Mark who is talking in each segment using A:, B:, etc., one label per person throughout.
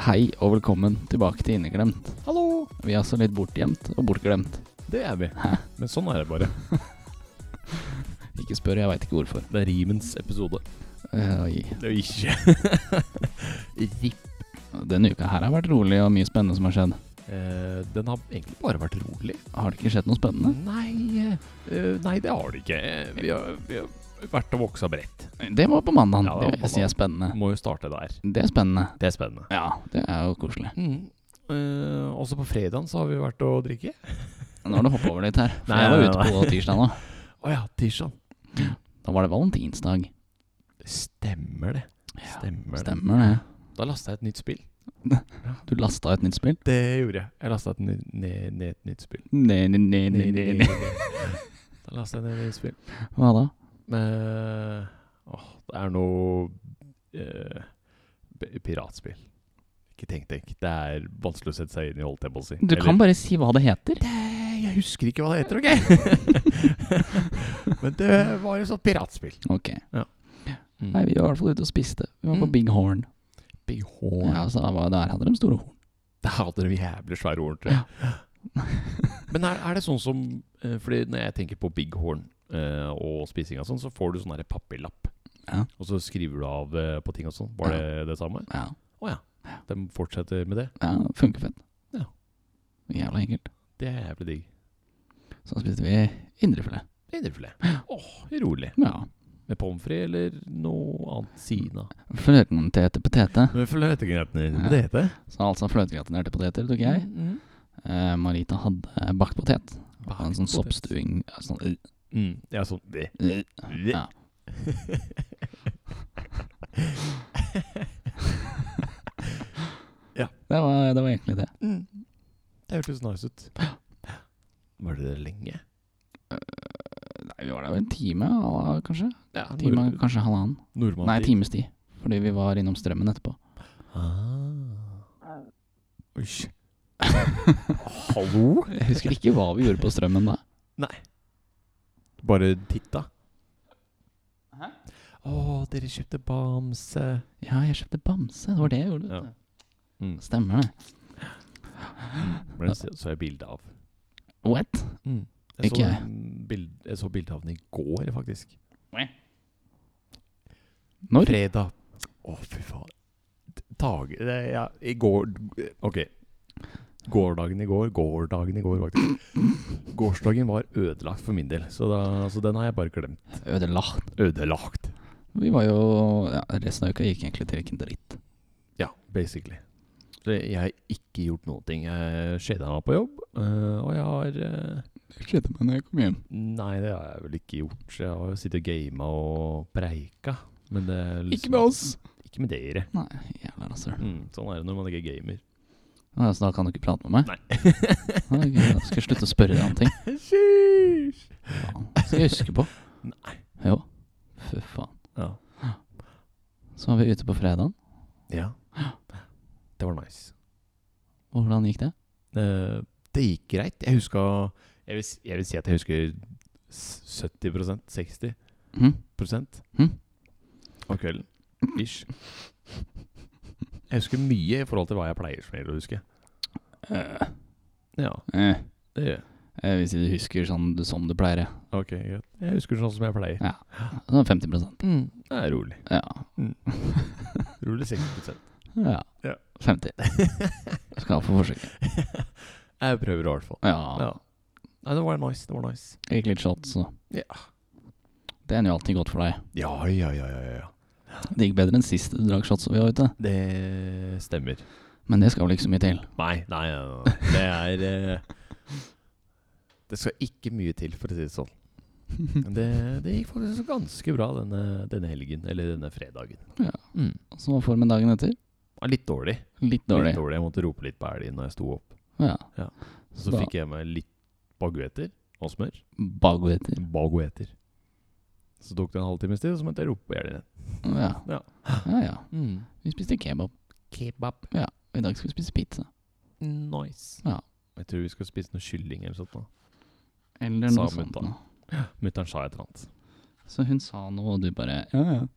A: Hei og velkommen tilbake til Inneglemt.
B: Hallo!
A: Vi er altså litt bortgjemt og bortglemt.
B: Det er vi. Men sånn er det bare.
A: Ikke spør, jeg veit ikke hvorfor.
B: Det er rimens episode.
A: Eh, Oi.
B: Det er jo ikke Ripp.
A: Denne uka her har vært rolig og mye spennende som har skjedd.
B: Eh, den har egentlig bare vært rolig.
A: Har det ikke skjedd noe spennende?
B: Nei, eh, nei det har det ikke. Eh, Vi har, vi har vært og voksa bredt.
A: Det var på mandag.
B: Ja, det
A: det
B: var
A: vil
B: på
A: jeg si er spennende.
B: Må jo starte der.
A: Det er spennende.
B: Det er spennende.
A: Ja, det er jo koselig.
B: Eh, også på fredagen så har vi vært og drikke.
A: Nå har du hoppa over litt her. For
B: Nei,
A: jeg var
B: nei,
A: ute på tirsdag nå.
B: Å ja, tirsdag.
A: Da var det valentinsdag.
B: Stemmer det. Stemmer det.
A: Stemmer det.
B: Da lasta jeg et nytt spill.
A: Du lasta et nytt spill?
B: Det gjorde jeg. Jeg lasta et, ny- ned- ned et nytt spill.
A: Ne, ne, ne, ne, ne, ne.
B: Da lasta jeg ned et nytt spill.
A: Hva da?
B: Eh, åh, det er noe eh, p- piratspill. Ikke tenk deg. Det er vanskelig å sette seg inn i, holdt jeg på å si.
A: Du kan bare si hva det heter.
B: Jeg husker ikke hva det heter, OK? Men det var jo sånt piratspill.
A: Ok. Mm. Nei, vi var i hvert fall ute og spiste. Vi var på
B: Mm.
A: Big Horn.
B: Big horn.
A: Ja, så da var, Der hadde de store horn.
B: Der hadde dere jævlig svære horn, tror jeg. Men er, er det sånn som eh, Fordi når jeg tenker på big horn eh, og spising og sånn, så får du sånn der papirlapp.
A: Ja.
B: Og så skriver du av eh, på ting og sånn. Var det det samme?
A: Ja.
B: De fortsetter med det.
A: Ja, funker fett.
B: Ja.
A: Jævla enkelt.
B: Det er jævlig digg.
A: Så spiste vi indrefilet.
B: Indrefilet. Åh, rolig.
A: Ja.
B: Med pommes frites eller noe annet siden av.
A: Fløtenetete potete.
B: Mm. Men fløtegrøten
A: hva
B: det heter?
A: Så altså fløtegratinerte poteter tok jeg.
B: Mm,
A: Eh, Marita hadde bakt potet. Og en sånn soppstuing ja, sånn, øh,
B: Mm, ja, sånn det.
A: øh. Ja.
B: Ja.
A: Det var, det var egentlig det.
B: Det hørtes nice ut. Var det det lenge?
A: Nei, vi var der vel en time, ja, kanskje?
B: Ja,
A: Time, kanskje halvannen.
B: Nordmann
A: Nei, times tid. Fordi vi var innom strømmen etterpå.
B: Ah. Oi. Hallo?
A: Jeg husker ikke hva vi gjorde på strømmen da.
B: Bare titta.
A: Hæ?
B: Å, dere kjøpte bamse.
A: Ja, jeg kjøpte bamse. Det var det jeg gjorde. vet
B: Ja.
A: du.
B: Mm.
A: Stemmer det.
B: Men så så jeg bilde av.
A: What?
B: Jeg,
A: Ikke
B: så
A: jeg.
B: en bild, jeg så bilde av den i går, faktisk.
A: Når?
B: Fredag. Å, fy faen. Dag... det er- Ja, i går Ok. Gårdagen i går, gårdagen i går, faktisk. Gårsdagen var ødelagt for min del, så, da, så den har jeg bare glemt.
A: Ødelagt.
B: Ødelagt.
A: Vi var jo ja, Resten av uka gikk egentlig til ikke en dritt.
B: Ja, basically. Så jeg har ikke gjort noen ting. Jeg skjeda meg på jobb, øh, og jeg har øh,
A: Jeg kledde meg når jeg kom hjem.
B: Nei, det har jeg vel ikke gjort. Jeg har jo sittet og gama og preika. Men det er liksom,
A: Ikke med oss!
B: Ikke med dere.
A: Nei, jævla rasshøl.
B: Mm, sånn er det når man ikke gamer.
A: Ja, så da kan du ikke prate med meg?
B: Nei.
A: Nei, ok, da skal jeg slutte å spørre deg om ting.
B: Sheesh.
A: Faen, det skal jeg huske på.
B: Nei.
A: Jo. Fy faen.
B: Ja.
A: Så var vi ute på fredagen.
B: ja. Det var nice.
A: Og Hvordan gikk det?
B: Eh, det gikk greit. Jeg huska jeg vil, s- jeg vil si at jeg husker s- 70 60
A: Hm?
B: prosent
A: Mhm.
B: av kvelden. Ish. Jeg husker mye i forhold til hva jeg pleier som gjelder å huske.
A: Eh,
B: Ja,
A: eh,
B: det gjør jeg.
A: eh, hvis du husker sånn du, som du pleier, ja.
B: Ok, greit. Jeg husker sånn som jeg pleier.
A: Sånn 50
B: Det er rolig. Mm.
A: Ja.
B: Rolig 60
A: ja.
B: Ja.
A: 50. Skal få forsøke.
B: Jeg prøver i hvert fall.
A: Ja.
B: Ja. Nei, det var nice. Det var nice.
A: Gikk litt shots, så.
B: Ja.
A: Det er jo alltid godt for deg.
B: Ja, ja, ja, ja, ja.
A: Det gikk bedre enn sist du drakk shots vi var ute.
B: Det stemmer.
A: Men det skal vel ikke så mye til.
B: Nei, nei, nei, nei. det er eh, Det skal ikke mye til, for å si det sånn. Men Det, det gikk faktisk ganske bra denne, denne helgen, eller denne fredagen.
A: Ja.
B: Mm. Det
A: Så var formen dagen etter
B: var Litt dårlig.
A: litt dårlig.
B: Litt dårlig. Jeg måtte rope litt på elgen når jeg sto opp.
A: Ja.
B: Så
A: Da-
B: fikk jeg meg litt baguetter og smør.
A: Bagoetter.
B: Baguetter. Så tok det en halvtimes tid, og så måtte jeg rope på elgen.
A: Ja.
B: Ja.
A: ja ja.
B: Mm.
A: Vi spiste kebab.
B: Kebab.
A: I dag skal vi spise pizza.
B: Nice.
A: Ja.
B: Jeg tror vi skal spise noe kylling eller sånt. da
A: Eller noe
B: Sa
A: sånt.
B: mutta.
A: nå.
B: Mutter'n sa et eller annet.
A: Så hun sa noe, og du bare Ja ja.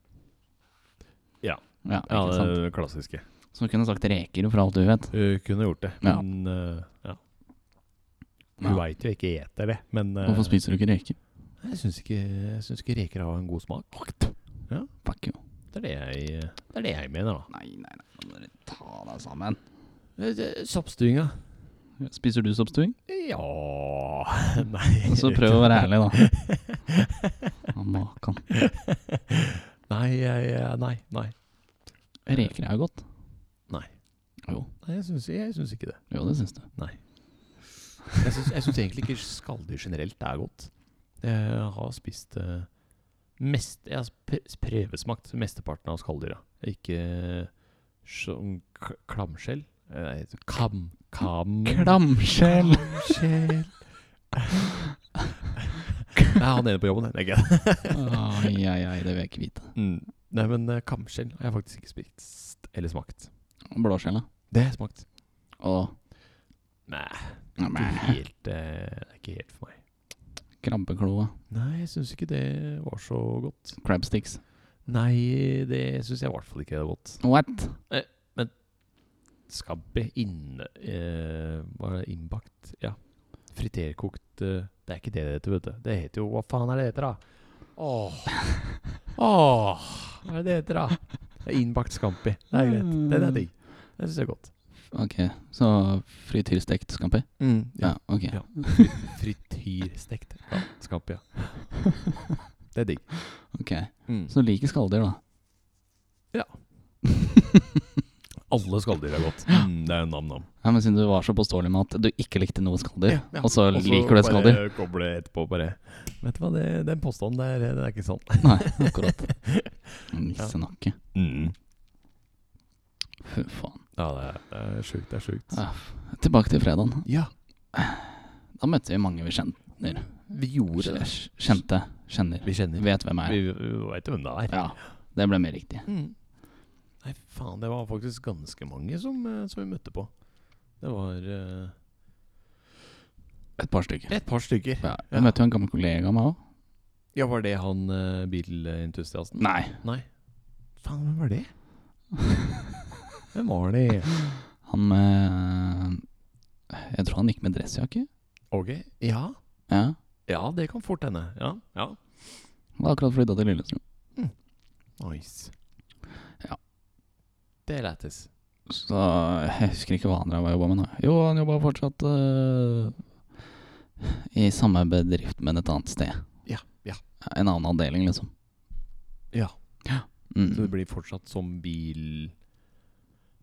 B: Ja.
A: ja,
B: Ja,
A: ikke sant?
B: det klassiske.
A: Som kunne sagt reker, for alt du vet.
B: Hun kunne gjort det,
A: Ja.
B: men eh, ja. Hun
A: Ja.
B: veit jo jeg ikke eter det, men eh,
A: Hvorfor spiser du ikke reker?
B: Jeg syns ikke, jeg syns ikke reker har en god smak.
A: Fuck you.
B: Det er det jeg, det er det jeg mener, da.
A: Nei, nei, nei. nå må dere Ta deg sammen.
B: Eh, eh, Soppstuinga.
A: Spiser du soppstuing?
B: Ja Nei.
A: Så prøv å være ærlig, da. Ja, Makan.
B: Nei, jeg- nei, nei.
A: Reker er jo godt.
B: Nei.
A: Jo,
B: Nei, jeg syns, jeg syns ikke det.
A: jo det syns du.
B: Jeg syns, jeg syns egentlig ikke skalldyr generelt er godt. Jeg har spist eh, mest, Jeg har sp- prøvesmakt mesteparten av skalldyra. Ikke sånn k- klamskjell Eh, Nei, kam... kam
A: Klamskjell!
B: Klamskjell Nei, han ene på jobben, det er ikke
A: Ai, ai, ai, det vil jeg ikke vite.
B: mm. Nei, men eh, kamskjell har jeg faktisk ikke spist eller smakt.
A: Blåskjell, da?
B: Det har jeg smakt.
A: Å,
B: Nei,
A: ja,
B: det er
A: men,
B: helt, eh, det er ikke helt for meg.
A: krabbekloa.
B: Nei, jeg syns ikke det var så godt.
A: Crabsticks.
B: Nei, det syns jeg i hvert fall ikke er godt.
A: What?
B: Skabbe inne eh, Var det innbakt? Ja. Friterkokt eh, Det er ikke det det heter, vet du. Det heter jo Hva faen er det det heter, da? Åh. Åh. Hva er det det heter, da? Det er innbakt scampi. Det er greit. Den er digg. Det syns jeg er godt.
A: Ok, så frityrstekt scampi?
B: ja.
A: Ja, ok.
B: Mm, Ja. Frityrstekt ja, scampi, ja. Det er digg. Mm.
A: Ok, Så du liker skalldyr, da?
B: Alle skalldyr er godt. Mm, det er nam-nam.
A: Ja, men Siden du var så påståelig med at du ikke likte noe skalldyr,
B: Ja, ja.
A: og så liker du et skalldyr?
B: Bare koble etterpå, bare Vet du hva, det, den påstanden der, den er ikke sann.
A: Nei, akkurat. Nissenakke. Mm. Fy faen.
B: Ja, det er, det er sjukt. Det er sjukt.
A: Ja, f- Tilbake til fredagen.
B: Ja,
A: Da møtte vi mange vi kjen-
B: vi gjorde det.
A: kj- kjente. Kjenner.
B: Vi kjenner.
A: Vet hvem
B: Vi,
A: er.
B: vi veit jo hvem det er.
A: Ja, det ble mer riktig.
B: Mm. Nei, faen, det var faktisk ganske mange som, eh, som vi møtte på. Det var eh,
A: Et par stykker.
B: et par stykker.
A: Ja, jeg møtte jo en gammel kollega av meg òg.
B: Ja, var det han eh, bilentusiasten?
A: Nei.
B: Nei. Faen, hvem var det? Hvem var det?
A: Han med Jeg tror han gikk med dressjakke.
B: Ok, ja.
A: Ja.
B: Ja, det kan fort hende. Ja. ja.
A: Han hadde akkurat flytta til Lillestrøm.
B: Nice.
A: Ja.
B: Det er lættis.
A: Så jeg husker ikke hva han drev og jobba med nå. Jo, han jobba fortsatt eh, i samme bedrift, men et annet sted.
B: Ja, ja.
A: En annen avdeling, liksom.
B: Ja.
A: Mm.
B: Så det blir fortsatt som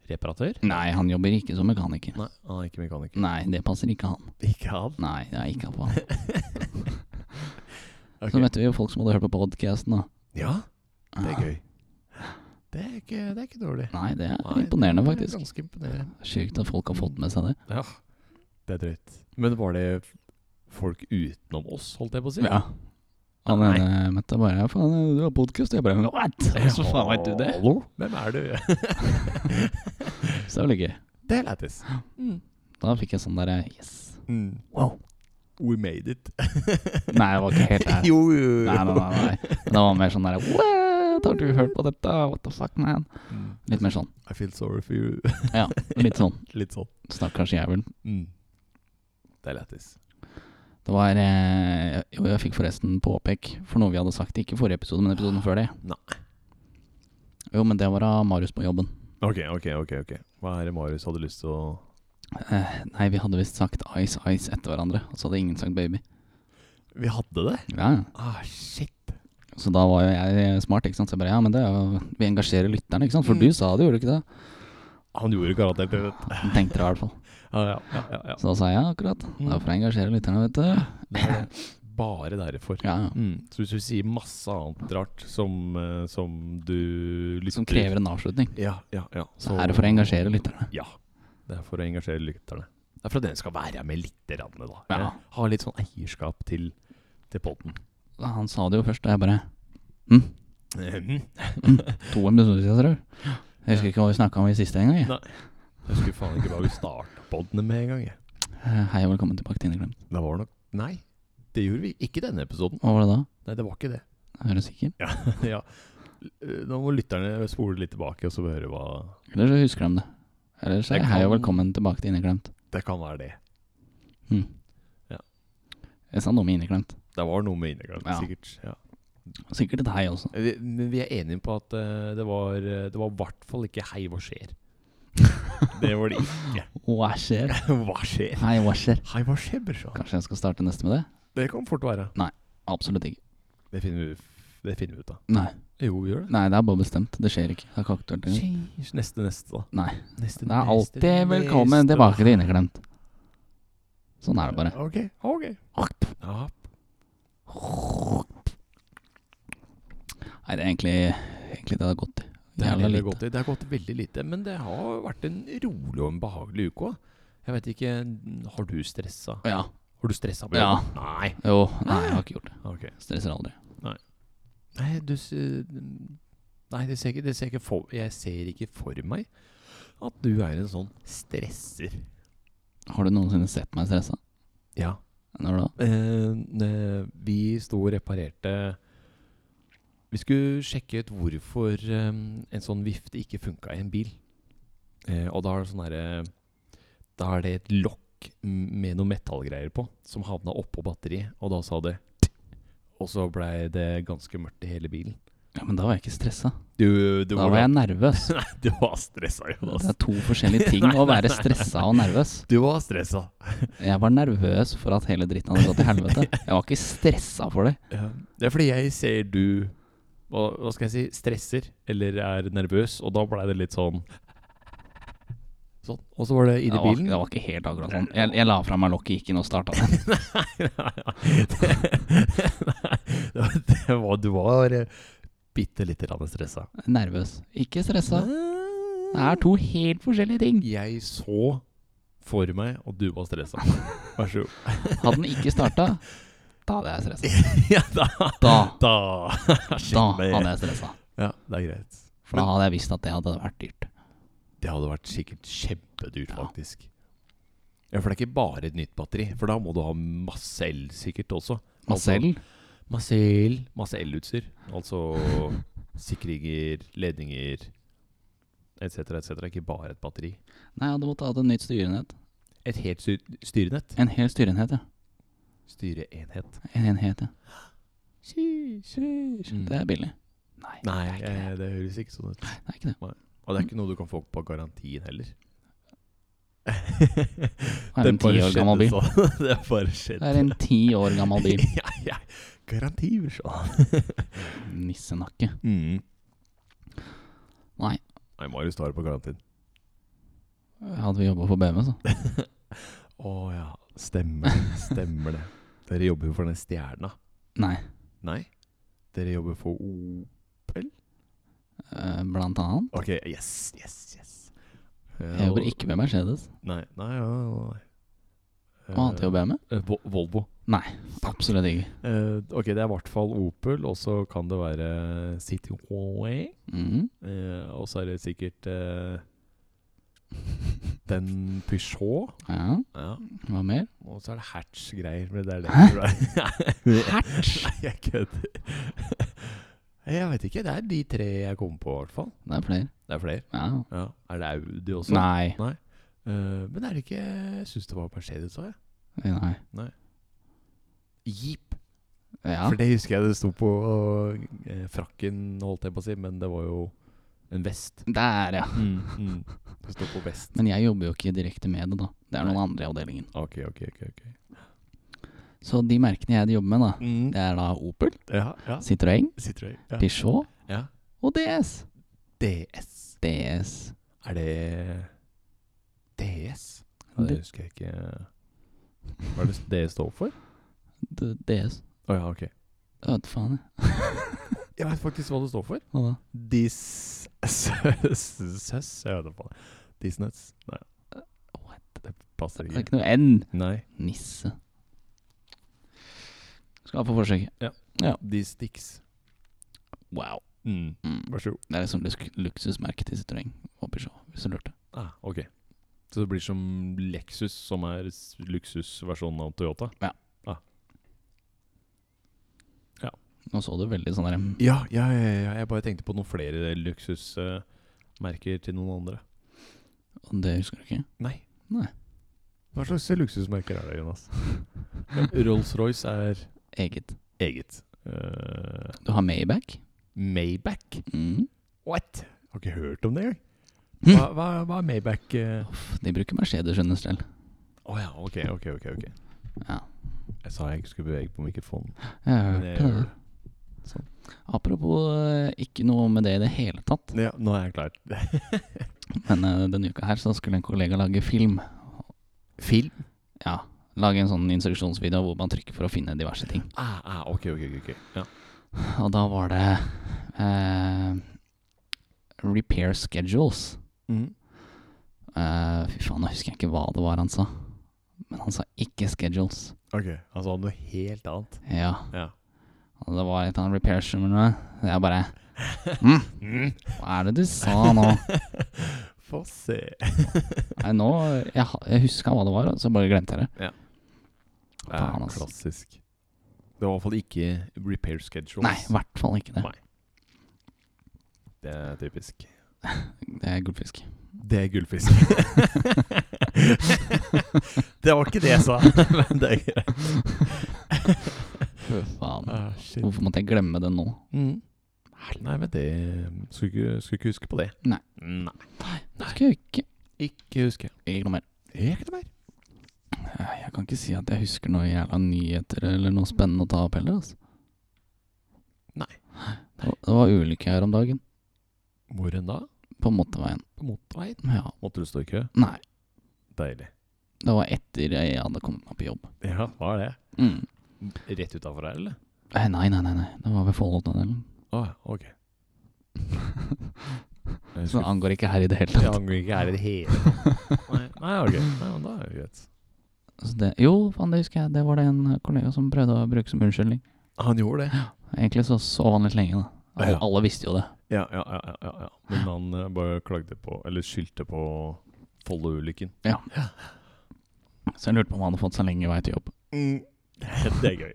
B: bilreparatør?
A: Nei, han jobber ikke som mekaniker.
B: Nei, han er ikke mekaniker.
A: Nei, det passer ikke han.
B: Ikke han?
A: Nei, det er ikke han.
B: Ok.
A: Så møtte vi jo folk som hadde hørt på podcasten da.
B: Ja, det er
A: Ja.
B: gøy. Det er ikke, det er ikke dårlig.
A: Ah, Nei, det er
B: Nei,
A: imponerende,
B: det er
A: faktisk.
B: Ganske imponerende.
A: Sjukt at folk har fått med seg det.
B: Ja, det er drøyt. Men var det f- folk utenom oss, holdt jeg på å si?
A: Ja. Han
B: Nei.
A: ene møtte bare Faen, du har podkast? Jeg bare What? Så faen veit du det?
B: Hallo, hvem er du?
A: Så det var litt gøy.
B: det er lættis.
A: Da fikk jeg sånn derre Yes.
B: Mm.
A: Wow.
B: We made it.
A: Nei, det var ikke helt det.
B: jo, jo, jo.
A: Nei, nei, nei. nei. Men Det var mer sånn derre What? Har du hørt på dette? What the fuck, man?
B: Mm.
A: Litt mer sånn.
B: I feel sorry for you.
A: Ja, litt sånn.
B: Litt sånn. Mm.
A: Stakkars jævel.
B: Det er lættis.
A: Det var eh, Jo, jeg fikk forresten påpekk for noe vi hadde sagt, ikke i forrige episode, men episoden før det.
B: Nei.
A: Jo, men det var av Marius på jobben.
B: Ok, ok, ok. ok Hva er det Marius hadde lyst til å
A: Eh, nei, vi hadde visst sagt Ice Ice etter hverandre, og så hadde ingen sagt Baby.
B: Vi hadde det?
A: Ja, ja.
B: Ah, shit.
A: Så da var jo jeg eh, smart, ikke sant. Så jeg bare ja, men det er jo Vi engasjerer lytterne, ikke sant. For
B: Mm.
A: du sa det, gjorde du ikke det?
B: Han gjorde garantert det. vet du.
A: Tenkte det i hvert fall.
B: Ja, ja, ja, ja, ja.
A: Så da sa jeg akkurat. Det er for å engasjere lytterne, vet du.
B: Det er bare derfor.
A: Ja, ja.
B: Mm. Så hvis du sier masse annet rart som, eh, som du lytter
A: Som krever en avslutning.
B: Ja, ja, ja.
A: Så er det for å engasjere lytterne.
B: Ja. Det er for å engasjere lytterne. Det er for at dere skal være med lite grann, da.
A: Ja.
B: Ha litt sånn eierskap til, til poden.
A: Han sa det jo først, og jeg bare hm, To episoder siden, tror jeg. Jeg husker ikke hva vi snakka om i siste engang. jeg.
B: Nei. Jeg husker faen ikke hva vi starta podene med engang. jeg.
A: Eh, Hei og velkommen tilbake til Inneglemt.
B: Det var nok Nei, det gjorde vi ikke i denne episoden.
A: Hva var det da?
B: Nei, det var ikke det.
A: Er du sikker?
B: Ja, ja. eh, Nå må lytterne spole litt tilbake og så høre hva
A: Eller så husker de det. Eller så
B: Jeg
A: er hei og
B: kan-
A: velkommen tilbake til Inneklemt.
B: Det kan være det.
A: Hm.
B: Ja.
A: Jeg sa noe med Inneklemt.
B: Det var noe med inneglemt,
A: Ja.
B: sikkert. Ja.
A: Sikkert et hei også.
B: Vi, men vi er enige på at eh, det var eh, Det var i hvert fall ikke 'hei, hva skjer'? det var det ikke.
A: Hva skjer?
B: hva skjer?
A: Hei, hva skjer?
B: Hei, hva skjer, brorsan?
A: Kanskje jeg skal starte neste med det?
B: Det kan fort være.
A: Absolutt ikke.
B: Det finner vi, det finner vi ut av.
A: Nei,
B: Jo, vi gjør
A: Nei det er bare bestemt. Det skjer ikke. Det er ikke aktuelt. engang.
B: Sheesh, Neste, neste, da.
A: Mm. Nei.
B: Neste,
A: Det er
B: neste,
A: alltid velkommen
B: neste.
A: tilbake til Inneklemt. Sånn er det bare.
B: Ok, ok. Ja.
A: Nei, det er egentlig, egentlig det det har gått i.
B: Det er
A: Jævla
B: veldig
A: lite.
B: godt. Det har gått veldig lite, men det har vært en rolig og en behagelig uke òg. Jeg vet ikke Har du stressa?
A: Ja.
B: Har du stressa på
A: Ja.
B: jobb? Nei.
A: Jo, nei, jeg har ikke gjort det.
B: Ok.
A: Stresser aldri.
B: Nei, du s- Nei, det ser ikke, det ser ikke for, jeg ser ikke for meg at du er en sånn stresser.
A: Har du noensinne sett meg stressa?
B: Ja.
A: Når da?
B: Eh, ne- vi sto og reparerte Vi skulle sjekke ut hvorfor eh, en sånn vifte ikke funka i en bil. Eh, og da er det sånn herre Da er det et lokk m- med noen metallgreier på som havna oppå batteriet, og da sa det «tikk», Og så blei det ganske mørkt i hele bilen.
A: Ja, men da var jeg ikke stressa.
B: Du, du
A: Da var jeg nervøs.
B: Nei, du var stressa,
A: Det
B: Jonas.
A: er to forskjellige ting
B: Nei,
A: å
B: nei,
A: være
B: nei, nei.
A: stressa og nervøs.
B: Du var stressa.
A: Jeg var nervøs for at hele dritten hadde gått til helvete. Jeg var ikke stressa for det.
B: Ja. Det er fordi jeg ser du hva, hva skal jeg si stresser eller er nervøs, og da blei det litt sånn Sånn. Og så var det
A: Det
B: inni
A: var,
B: bilen.
A: det var ikke helt akkurat sånn. Jeg, jeg la fra meg lokket, gikk inn og starta det.
B: Det var, det var, du var eh, bitte lite grann stressa.
A: Nervøs. Ikke stressa. Det er to helt forskjellige ting.
B: Jeg så for meg at du var stressa. Vær så god.
A: Hadde den ikke starta, da hadde jeg stressa.
B: Ja, da
A: Da,
B: Da,
A: da hadde jeg stressa.
B: Ja, det er greit.
A: For da hadde jeg visst at det hadde vært dyrt.
B: Det hadde vært sikkert kjempedyrt,
A: Ja.
B: faktisk. Ja, For det er ikke bare et nytt batteri, for da må du ha masse el sikkert også. Altså-
A: Marcel,
B: Masse el. Masse elutstyr. Altså sikringer, ledninger etc., etc. Ikke bare et batteri.
A: nei, jeg hadde måttet hatt et nytt styrenett.
B: Et helt sy- styrenett.
A: En hel styrenhet, ja.
B: Styreenhet.
A: En enhet, ja. Det er billig. Nei,
B: Mm. Nei,
A: det er ikke det.
B: eh, det høres ikke sånn ut.
A: Det er ikke det.
B: Og det er ikke noe du kan få på garantien heller.
A: Det er en ti år gammel bil.
B: sånn. Det er bare skjedd.
A: Det er en ti år gammel bil.
B: ja, ja. Garanti, brorsan.
A: Nissenakke.
B: Mm.
A: Nei.
B: Nei, Marius tar det på garantien.
A: Hadde vi jobba for altså? BMW, så.
B: Å ja. Stemmer det. Stemmer det. Dere jobber jo for den stjerna.
A: Nei.
B: Nei? Dere jobber for O...
A: Eh, Blant annet.
B: Ok, yes, yes, yes.
A: Jeg jobber ikke med Mercedes.
B: Nei, nei, ja, ja, nei.
A: Hva annet jobber jeg med?
B: Eh, Vo- Volvo.
A: Absolutt ikke.
B: Eh, ok, det er i hvert fall Opel, og så kan det være Citroën.
A: Mhm.
B: Eh, og så er det sikkert eh, den Peugeot.
A: Ja,
B: Ja.
A: hva mer?
B: Og så er det hatch-greier, men det er det
A: Hæ?
B: Hatch? Nei, jeg kødder. Eh, Jeg vet ikke. Det er de tre jeg kom på, i hvert fall.
A: Det er flere.
B: Det er flere.
A: Ja.
B: Ja. Er det Audi også?
A: Nei.
B: Eh, men er det ikke Jeg syns det var Mercedes òg, jeg.
A: Nei.
B: Jeep.
A: Ja.
B: For det husker jeg det sto på eh, frakken, holdt jeg på å si, men det var jo en vest.
A: Der, ja.
B: Mm. Det står på vest.
A: Men jeg jobber jo ikke direkte med det, da. Det er noen andre i avdelingen.
B: Ok, ok, ok. ok
A: Så de merkene jeg jobber med, da, det er da Opel,
B: Ja, ja.
A: Citroën,
B: Citroën. Ja.
A: Peugeot
B: Ja.
A: og DS.
B: DS.
A: DS.
B: Er det DS? Ja,
A: D-
B: det husker jeg ikke. Hva er det det står for?
A: D- DS.
B: Å ja, ok.
A: Jeg vet faen, jeg.
B: Jeg vet faktisk hva det står for.
A: Hva da?
B: Dis... Søss? Jeg vet ikke. Disnuts? Nei.
A: What?
B: Det
A: Det
B: passer
A: er
B: ikke.
A: ikke noe N.
B: Nei.
A: Nisse. Skal få forsøket.
B: Distix.
A: Wow.
B: Mm.
A: Mm.
B: Vær så god.
A: Det er liksom lusk- luksusmerke til Citroën og Peugeot, hvis du lurte.
B: Ah, ok. Så det blir som Lexus, som er s- luksusversjonen av Toyota?
A: Ja.
B: Ah. Ja.
A: Nå så du veldig sånn der mm,
B: Ja, ja, ja, ja, jeg bare tenkte på noen flere luksusmerker til noen andre.
A: og Det husker du ikke?
B: Nei.
A: Nei.
B: Hva slags luksusmerker er det, Jonas? Rolls-Royce er
A: Eget.
B: eget. Eh,
A: Du har Maybach?
B: Maybach?
A: Mm.
B: What? Har ikke hørt om det engang.
A: Hm.
B: Hva, hva, hva er Maybach? eh? Å
A: De bruker Mercedes under stell.
B: ja, ok, ok, ok. ok
A: Ja.
B: Jeg sa jeg ikke skulle bevege på mikrofonen.
A: Jeg
B: Men jeg
A: hørte
B: gjør
A: det.
B: Sånn.
A: Apropos eh, ikke noe med det i det hele tatt,
B: Ja, nå er jeg klar.
A: men eh, denne uka her så skulle en kollega lage film.
B: Film?
A: Ja, Lage en sånn instruksjonsvideo hvor man trykker for å finne diverse ting.
B: Ah, ah, ok, ok, ok. ok. Ja.
A: Og da var det eh, Repair schedules. Mm.
B: Mhm.
A: Eh, fy faen, nå husker jeg ikke hva det var han sa. Men han sa ikke schedules.
B: Ok, han sa noe helt annet.
A: Ja,
B: Ja.
A: og det var et eller annet repair som eller noe. Jeg bare mm, Hva er det du sa nå?
B: Få se.
A: Nei, nå Jeg, ha- jeg huska hva det var, så bare glemte jeg det.
B: Det er
A: Faen, ass.
B: klassisk. Det var i hvert fall ikke repair schedules.
A: Nei, i hvert fall ikke det.
B: Nei. Det er typisk.
A: Det er gullfisk.
B: Det er gullfisk. det var ikke det jeg sa, men det er greit.
A: Fy faen.
B: Ah, shit.
A: Hvorfor måtte jeg glemme det nå?
B: Mm. Nei, men det Skulle ikke, skulle ikke huske på det.
A: Nei.
B: Nei.
A: Husker jeg ikke.
B: Ikke huske.
A: Ikke noe mer. Eh,
B: Ikke noe mer.
A: Jeg kan ikke si at jeg husker noe jævla nyheter eller noe spennende å ta opp heller. Altså.
B: Nei.
A: Det var- Det var ulykke her om dagen.
B: Hvor enn da?
A: På motorveien.
B: På motorveien?
A: Ja.
B: Måtte du stå i kø?
A: Nei.
B: Deilig.
A: Det var etter jeg hadde kommet meg på jobb.
B: Ja, hva er det?
A: Mm.
B: Rett utafor her, eller?
A: Eh, Nei, nei, nei. nei. Det var ved Follotunnelen.
B: Å, ok. Jeg
A: Så det
B: skulle-
A: angår ikke her i det hele
B: Jeg
A: tatt.
B: angrer ikke her i det hele tatt. Nei, nei, ok. Nei, men da er det greit.
A: Så det, jo, faen, det husker jeg. Det var det en kollega som prøvde å bruke som unnskyldning.
B: Han gjorde det?
A: Egentlig så sov han litt lenge, da. Alle,
B: Ja.
A: alle visste jo det.
B: Ja, ja, ja. ja, ja, ja. Men han eh, bare klagde på, eller skyldte på, Follo-ulykken.
A: Så jeg lurte på om han hadde fått seg lenge vei til jobb.
B: Mm. Det er gøy.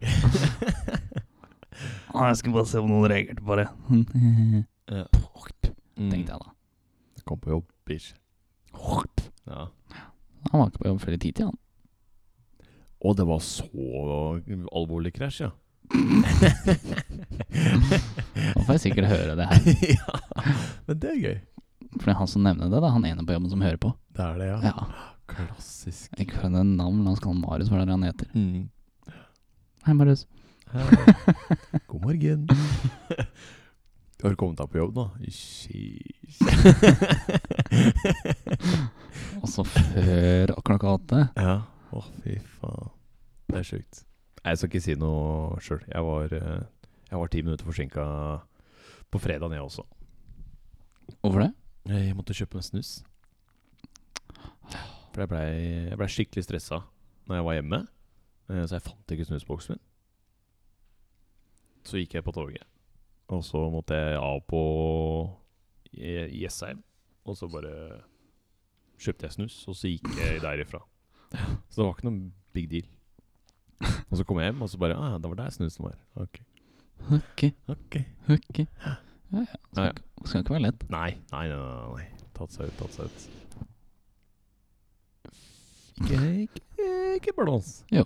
A: Ah, Jeg skal bare se om noen reagerte på det.
B: Ja.
A: Tenkte jeg
B: Mm.
A: da.
B: Kom på jobb, bitch. Ja.
A: Han var ikke på jobb før i ti til, han.
B: Og det var så alvorlig krasj, ja.
A: Nå får jeg sikkert høre det her.
B: ja. Men det er gøy.
A: For det er han som nevner det, da. Han ene på jobben som hører på.
B: Det er det,
A: Ja.
B: Klassisk.
A: Ikke for en navn, la oss kalle han Marius, hva er det han heter.
B: Mm.
A: Hei, Marius.
B: Hei. God morgen. Har du kommet deg på jobb nå? Sheesh.
A: Og så før klokka åtte.
B: ja. Å, fy faen. Det er sjukt. Nei, Jeg skal ikke si noe sjøl. Jeg, var, eh, jeg var ti minutter forsinka på fredagen, jeg også.
A: Hvorfor det?
B: Jeg måtte kjøpe meg snus. For jeg blei jeg ble skikkelig stressa når jeg var hjemme, eh, så jeg fant ikke snusboksen min. Så gikk jeg på toget, og så måtte jeg av på Je- Jessheim. Og så bare kjøpte jeg snus, og så gikk jeg derifra. Så det var ikke noen big deal. Og så kom jeg hjem, og så bare ah, Det var der snusen var. Ok.
A: Ok,
B: Ok.
A: ok. Ja, ja.
B: Ja, ja.
A: Skal, ikke- skal ikke være lett.
B: Nei, nei, nei. nei, nei. Tatt seg ut, tatt seg ut. Ikke, ikke, ikke blås.
A: Jo.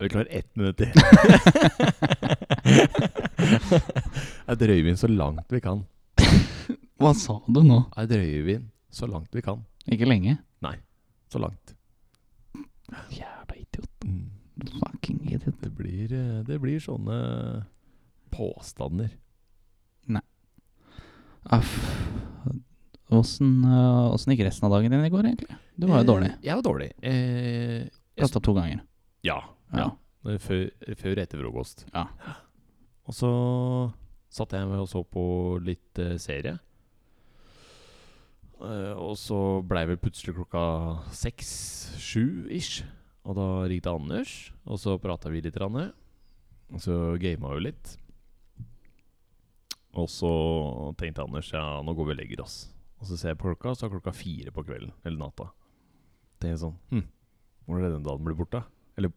B: Vi klarer ett minutt til. Her drøyer vi inn så langt vi kan.
A: Hva sa du nå?
B: Her drøyer vi inn så langt vi kan.
A: Ikke lenge.
B: Så langt.
A: Jævla idiot. Fucking idiot.
B: Det, blir, eh, det blir sånne påstander.
A: Aff. Åssen øh, åssen gikk resten av dagen din i går, egentlig? Du var jo dårlig.
B: Eh, Jeg var dårlig. Eh, jeg-
A: Kasta opp to ganger.
B: ja.
A: Ja.
B: Det er Før, før etter frokost.
A: Ja.
B: Og så satt jeg meg og så på litt eh, serie. Eh, og så blei vel plutselig klokka seks, sju ish. Og da ringte Anders, og så prata vi litt. Ranne. Og så gama vi litt. Og så tenkte Anders ja, nå går vi og legger oss. Og så ser jeg på klokka, så er klokka fire på kvelden eller natta. Tenkte jeg sånn hm, Hvordan er det den dagen blir borte? Eller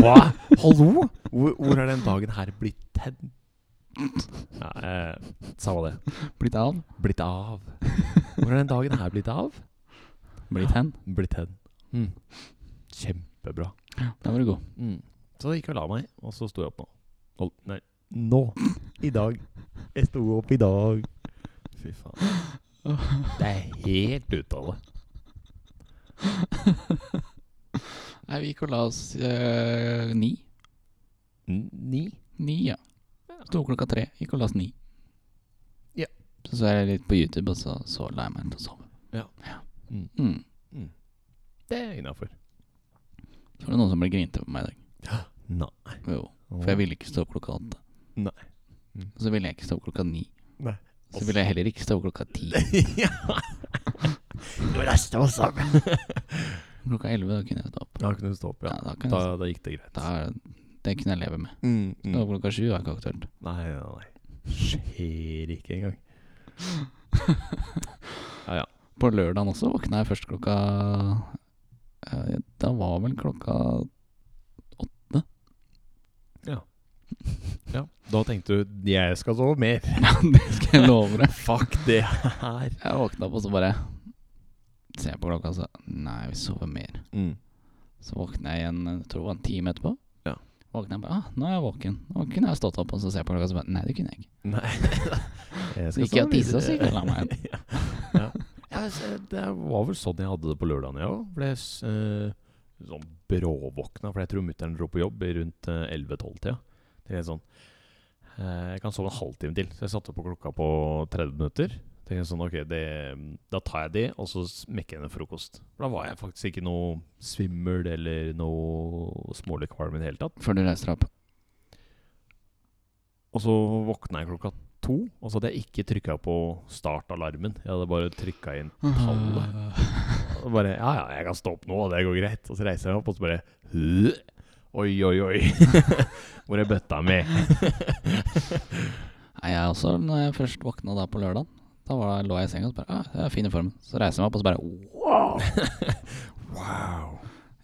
B: Hva? Hallo? Hvor, hvor er den dagen her blitt hen? Ja, eh, samme det.
A: Blitt av?
B: Blitt av. Hvor er den dagen her blitt av?
A: Blitt hen?
B: Blitt hen. Mm. Kjempebra.
A: Da var du god.
B: Mm. Så jeg gikk og la meg, og så sto jeg opp nå. Hold, nei, nå. I dag. Jeg sto opp i dag. Fy faen. Det er helt ute av det.
A: Nei, vi gikk og la oss eh, ni.
B: N- Ni.
A: Ni, ja. Sto klokka tre. Gikk og la oss ni.
B: Ja.
A: Så så jeg litt på YouTube, og så, så la jeg meg til å sove.
B: Ja. Mm.
A: Mm.
B: Det er innafor.
A: Så var det noen som ble grinte på meg i dag.
B: Nei.
A: Jo. For jeg ville ikke stå opp klokka åtte.
B: Nei. Mm.
A: Og så ville jeg ikke stå opp klokka ni.
B: Nei.
A: Så ville jeg heller ikke stå opp klokka ti.
B: ja. Det resten var sammen.
A: Klokka elleve da kunne jeg stå opp.
B: Da kunne du stå opp,
A: Ja,
B: ja.
A: da kan
B: Da,
A: jeg,
B: da gikk det greit.
A: da, det kunne jeg leve med.
B: Mm, mm.
A: Stå opp klokka sju var ikke aktuelt.
B: Nei, nei, nei. Skjer ikke engang. Ja, ja.
A: På lørdagen også våkna jeg først klokka eh, Da var vel klokka
B: ja. Da tenkte du 'jeg skal sove mer'.
A: Ja, det skal jeg love deg.
B: Fuck det her.
A: Jeg våkna opp, og så bare ser jeg på klokka, og så Nei, vi sover mer.
B: Mm.
A: Så våkner jeg igjen, jeg tror det var en time etterpå.
B: Ja.
A: Våkner jeg bare ah, 'Nå er jeg våken'. Nå kunne jeg stått opp, og så ser jeg på klokka, og så bare Nei, det kunne jeg ikke.
B: Nei. Jeg
A: Så gikk jeg og tissa, så gikk jeg og la meg
B: ja. Ja. Ja, så det var vel sånn jeg hadde det på lørdagen, jeg òg. Ble s- eh, sånn bråvåkna, for jeg tror mutter'n dro på jobb i rundt eh, 11-12-tida. Det er sånn eh, Jeg kan sove en halvtime til, så jeg satte på klokka på 30 minutter. Tenkte jeg sånn, ok, det, Da tar jeg de, og så smekker jeg ned frokost. For Da var jeg faktisk ikke noe svimmel eller noe smålig kvalm i det hele tatt.
A: Før du reiser deg opp.
B: Og så våkna jeg klokka to, og så hadde jeg ikke trykka på startalarmen. Jeg hadde bare trykka inn tallet. Og bare Ja, ja, jeg kan stå opp nå, det går greit. Og så reiser jeg meg opp, og så bare «Hø? Oi, oi, oi. Hvor er bøtta mi?
A: Nei, jeg også, når jeg først våkna da på lørdagen, da var, lå jeg i senga og så bare ah, jeg er fin i formen. Så reiser jeg meg opp og så bare wow!
B: Wow.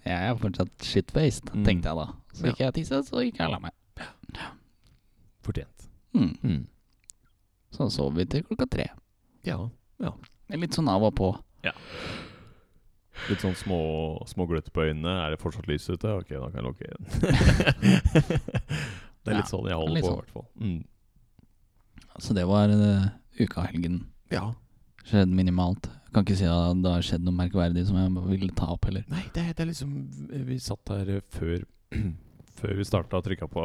A: Jeg er fortsatt shitfaced,
B: Mm.
A: tenkte jeg da. Så gikk jeg og tissa, så gikk jeg og la meg.
B: Fortjent.
A: Mm. Så sov vi til klokka tre.
B: Ja.
A: Litt sånn av og på.
B: Litt sånn små, små gløtt på øynene. Er det fortsatt lys ute? Ok, da kan jeg lukke igjen. det er
A: Ja,
B: litt sånn jeg holder
A: litt
B: på,
A: sånn.
B: i hvert fall. Mm.
A: Så det var eh, uka og helgen.
B: Ja.
A: Skjedd minimalt. Jeg kan ikke si at det har skjedd noe merkverdig som jeg ville ta opp heller.
B: Nei, det, er- det er liksom Vi satt her eh, før, før vi starta og trykka på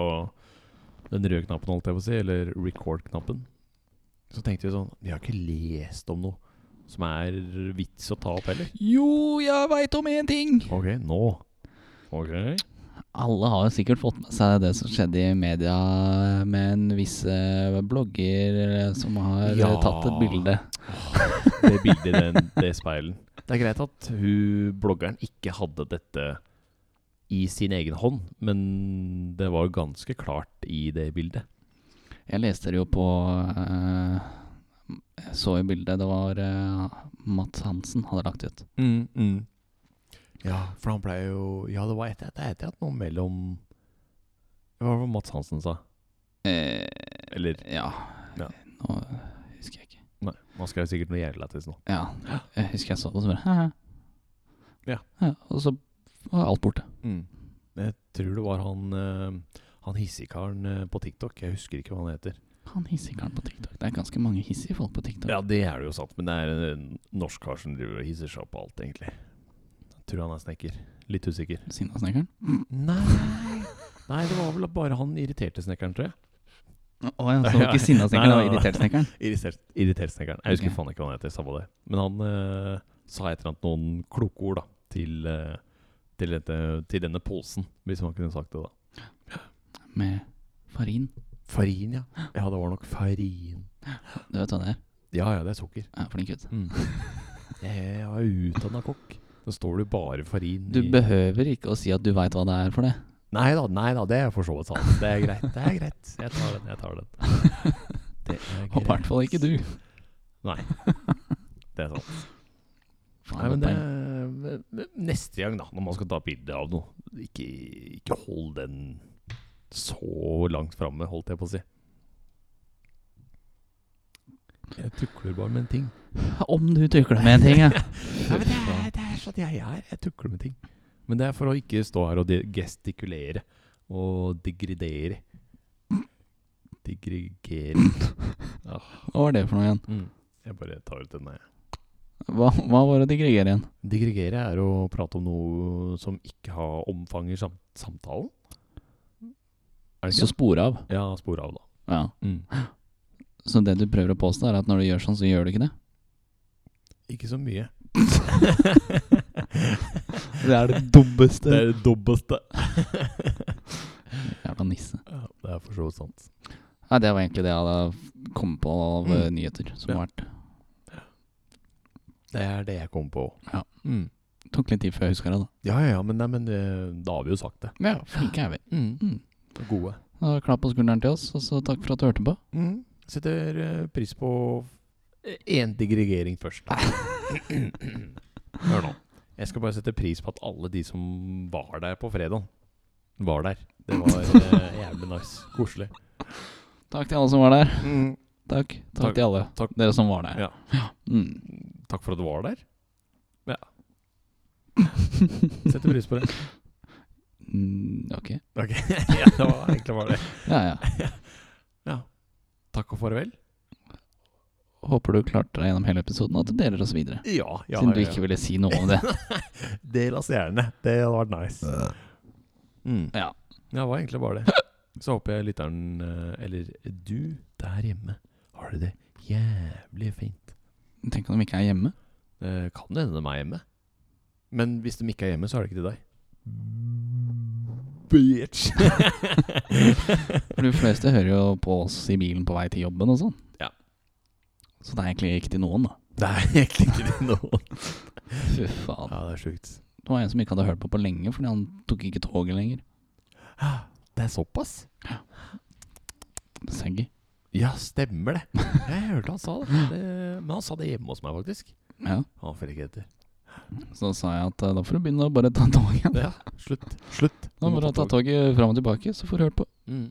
B: den røde knappen, holdt jeg på å si, eller record-knappen. Så tenkte vi sånn Vi har ikke lest om noe som er vits å ta opp heller.
A: Jo, jeg veit om én ting!
B: Ok, nå. Ok.
A: Alle har jo sikkert fått med seg det som skjedde i media med en viss eh, blogger eh, som har eh,
B: Ja.
A: tatt et bilde.
B: Det bildet i den, det speilen. Det er greit at hun bloggeren ikke hadde dette i sin egen hånd, men det var ganske klart i det bildet.
A: Jeg leste det jo på eh, Jeg så jo bildet. Det var eh, Mats Hansen hadde lagt ut.
B: Mm, mm. Ja, for han pleier jo Ja, det var etter at etter at noe mellom Hva var det Mats Hansen sa?
A: Eh,
B: Eller
A: ja.
B: Ja.
A: Nå husker jeg ikke.
B: Nei, man skal jo sikkert noe jævlig lættis nå.
A: Ja, jeg husker jeg så det, og så bare «Hæ, hæ».
B: Ja.
A: Og så var alt borte.
B: Mm. Jeg tror det var han eh, Han hissigkaren eh, på TikTok. Jeg husker ikke hva han heter.
A: Han hissigkaren på TikTok. Det er ganske mange hissige folk på TikTok.
B: Ja, det er det jo sant, men det er en en norsk kar som driver og hisser seg opp på alt, egentlig. Jeg tror han er snekker. Litt usikker.
A: Sinnasnekkeren.
B: Nei Nei, det var vel bare han irriterte snekkeren, tror jeg.
A: Å ja, så var det ikke sinnasnekkeren, det var
B: Nei, nei, nei.
A: irritertsnekkeren.
B: Irritert, irritert snekkeren. Jeg husker
A: Ok.
B: faen ikke hva han heter. Samme det. Men han eh, sa et eller annet noen kloke ord da til, eh, til, dette, til denne posen, hvis man kunne sagt det, da.
A: Med farin.
B: Farin, ja. Ja, det var nok farin.
A: Du vet hva det er?
B: Ja ja, det er sukker.
A: Ja, flink gutt.
B: Jeg er utdanna kokk. Mm. Da står det bare farin
A: Du behøver ikke å si at du veit hva det er for det.
B: Nei da, nei da, det er for så vidt sant. Det er greit. Det er greit. Jeg tar den, jeg tar den. Det er
A: Og i hvert fall ikke du.
B: Det er sant. Nei, men det, men neste gang, da, når man skal ta bilde av noe, ikke, ikke hold den så langt framme, holdt jeg på å si. Jeg tukler bare med en ting.
A: Om du tukler med en ting, ja.
B: Ja, men det, er, det er sånn jeg er. Jeg tukler med ting. Men det er for å ikke stå her og de- gestikulere og digridere. Digrigere
A: Hva var det for noe igjen?
B: Mm, Jeg bare tar ut den der.
A: Hva, hva var det de greger igjen?
B: Digregere er å prate om noe som ikke har omfanger sam samtalen. Er det Mm.
A: Så
B: ikke?
A: spore av.
B: det? Ja, spor av, da.
A: Ja. Så det du prøver å påstå, er at når du gjør sånn, så gjør du ikke det?
B: Ikke så mye.
A: Det er det dummeste.
B: Det er det dobbeltste.
A: Jævla nisse.
B: Ja, det er for så vidt sant.
A: Nei, det var egentlig det jeg hadde kommet på av eh,
B: Mm.
A: nyheter som
B: Ja.
A: har vært.
B: Det er det jeg kom på.
A: Ja.
B: Mm.
A: Tok litt tid før jeg huska det, da.
B: ja, ja, ja, men, nei, men eh, da har vi jo sagt det.
A: Ja, flinke er vi. Mm.
B: Gode.
A: Da klapp på skulderen til oss, og så takk for at du hørte på.
B: Mm. Setter eh, pris på én digregering først. da. Hør nå. Jeg skal bare sette pris på at alle de som var der på fredag, var der. Det var eh, jævlig nice. Koselig.
A: Takk til alle som var der.
B: Mm.
A: Takk. Takk,
B: Takk.
A: til alle
B: Takk.
A: dere som sånn var der.
B: Ja.
A: Mm.
B: Takk for at du var der. Ja. Setter pris på det.
A: Mm, ok.
B: Ok, ja, det var egentlig bare det.
A: Ja, ja.
B: Takk og farvel.
A: Håper du klarte deg gjennom hele episoden, og at du deler oss videre.
B: Ja, ja,
A: Siden
B: ja,
A: du
B: ja.
A: ikke ville si noe om det.
B: Del oss gjerne. Det hadde vært nice. Mm.
A: Ja.
B: Ja, det var egentlig bare det. Så håper jeg lytteren, eh, eller du der hjemme, har det det jævlig fint.
A: Tenk om de ikke er hjemme.
B: Eh, Kan det hende de er hjemme. Men hvis de ikke er hjemme, så er det ikke til deg. Bitch!
A: For de fleste hører jo på oss i bilen på vei til jobben og sånn.
B: Ja.
A: Så det er egentlig ikke til noen, da.
B: Det er egentlig ikke til noen.
A: Fy faen.
B: Ja, det er sjukt.
A: Det var en som ikke hadde hørt på på lenge, fordi han tok ikke toget lenger.
B: Det er såpass?
A: Saggy.
B: Ja, stemmer det. Jeg hørte han sa det. det men han sa det hjemme hos meg, faktisk.
A: Ja.
B: Han får ikke etter.
A: Så da sa jeg at eh, da får du begynne å bare ta toget.
B: Ja, slutt. Slutt.
A: Da må du ta toget fram og tilbake, så får du hørt på.
B: Mm.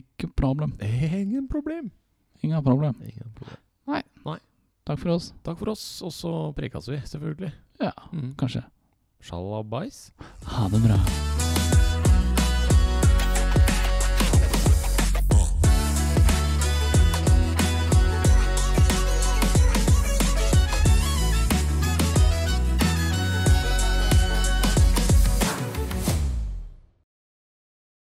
A: Ikke problem.
B: Ingen problem.
A: Ingen problem.
B: Ingen problem.
A: Takk for oss.
B: Takk for oss, og så prekes vi, selvfølgelig.
A: Ja,
B: Mm.
A: kanskje.
B: Sjalabais.
A: Ha det bra.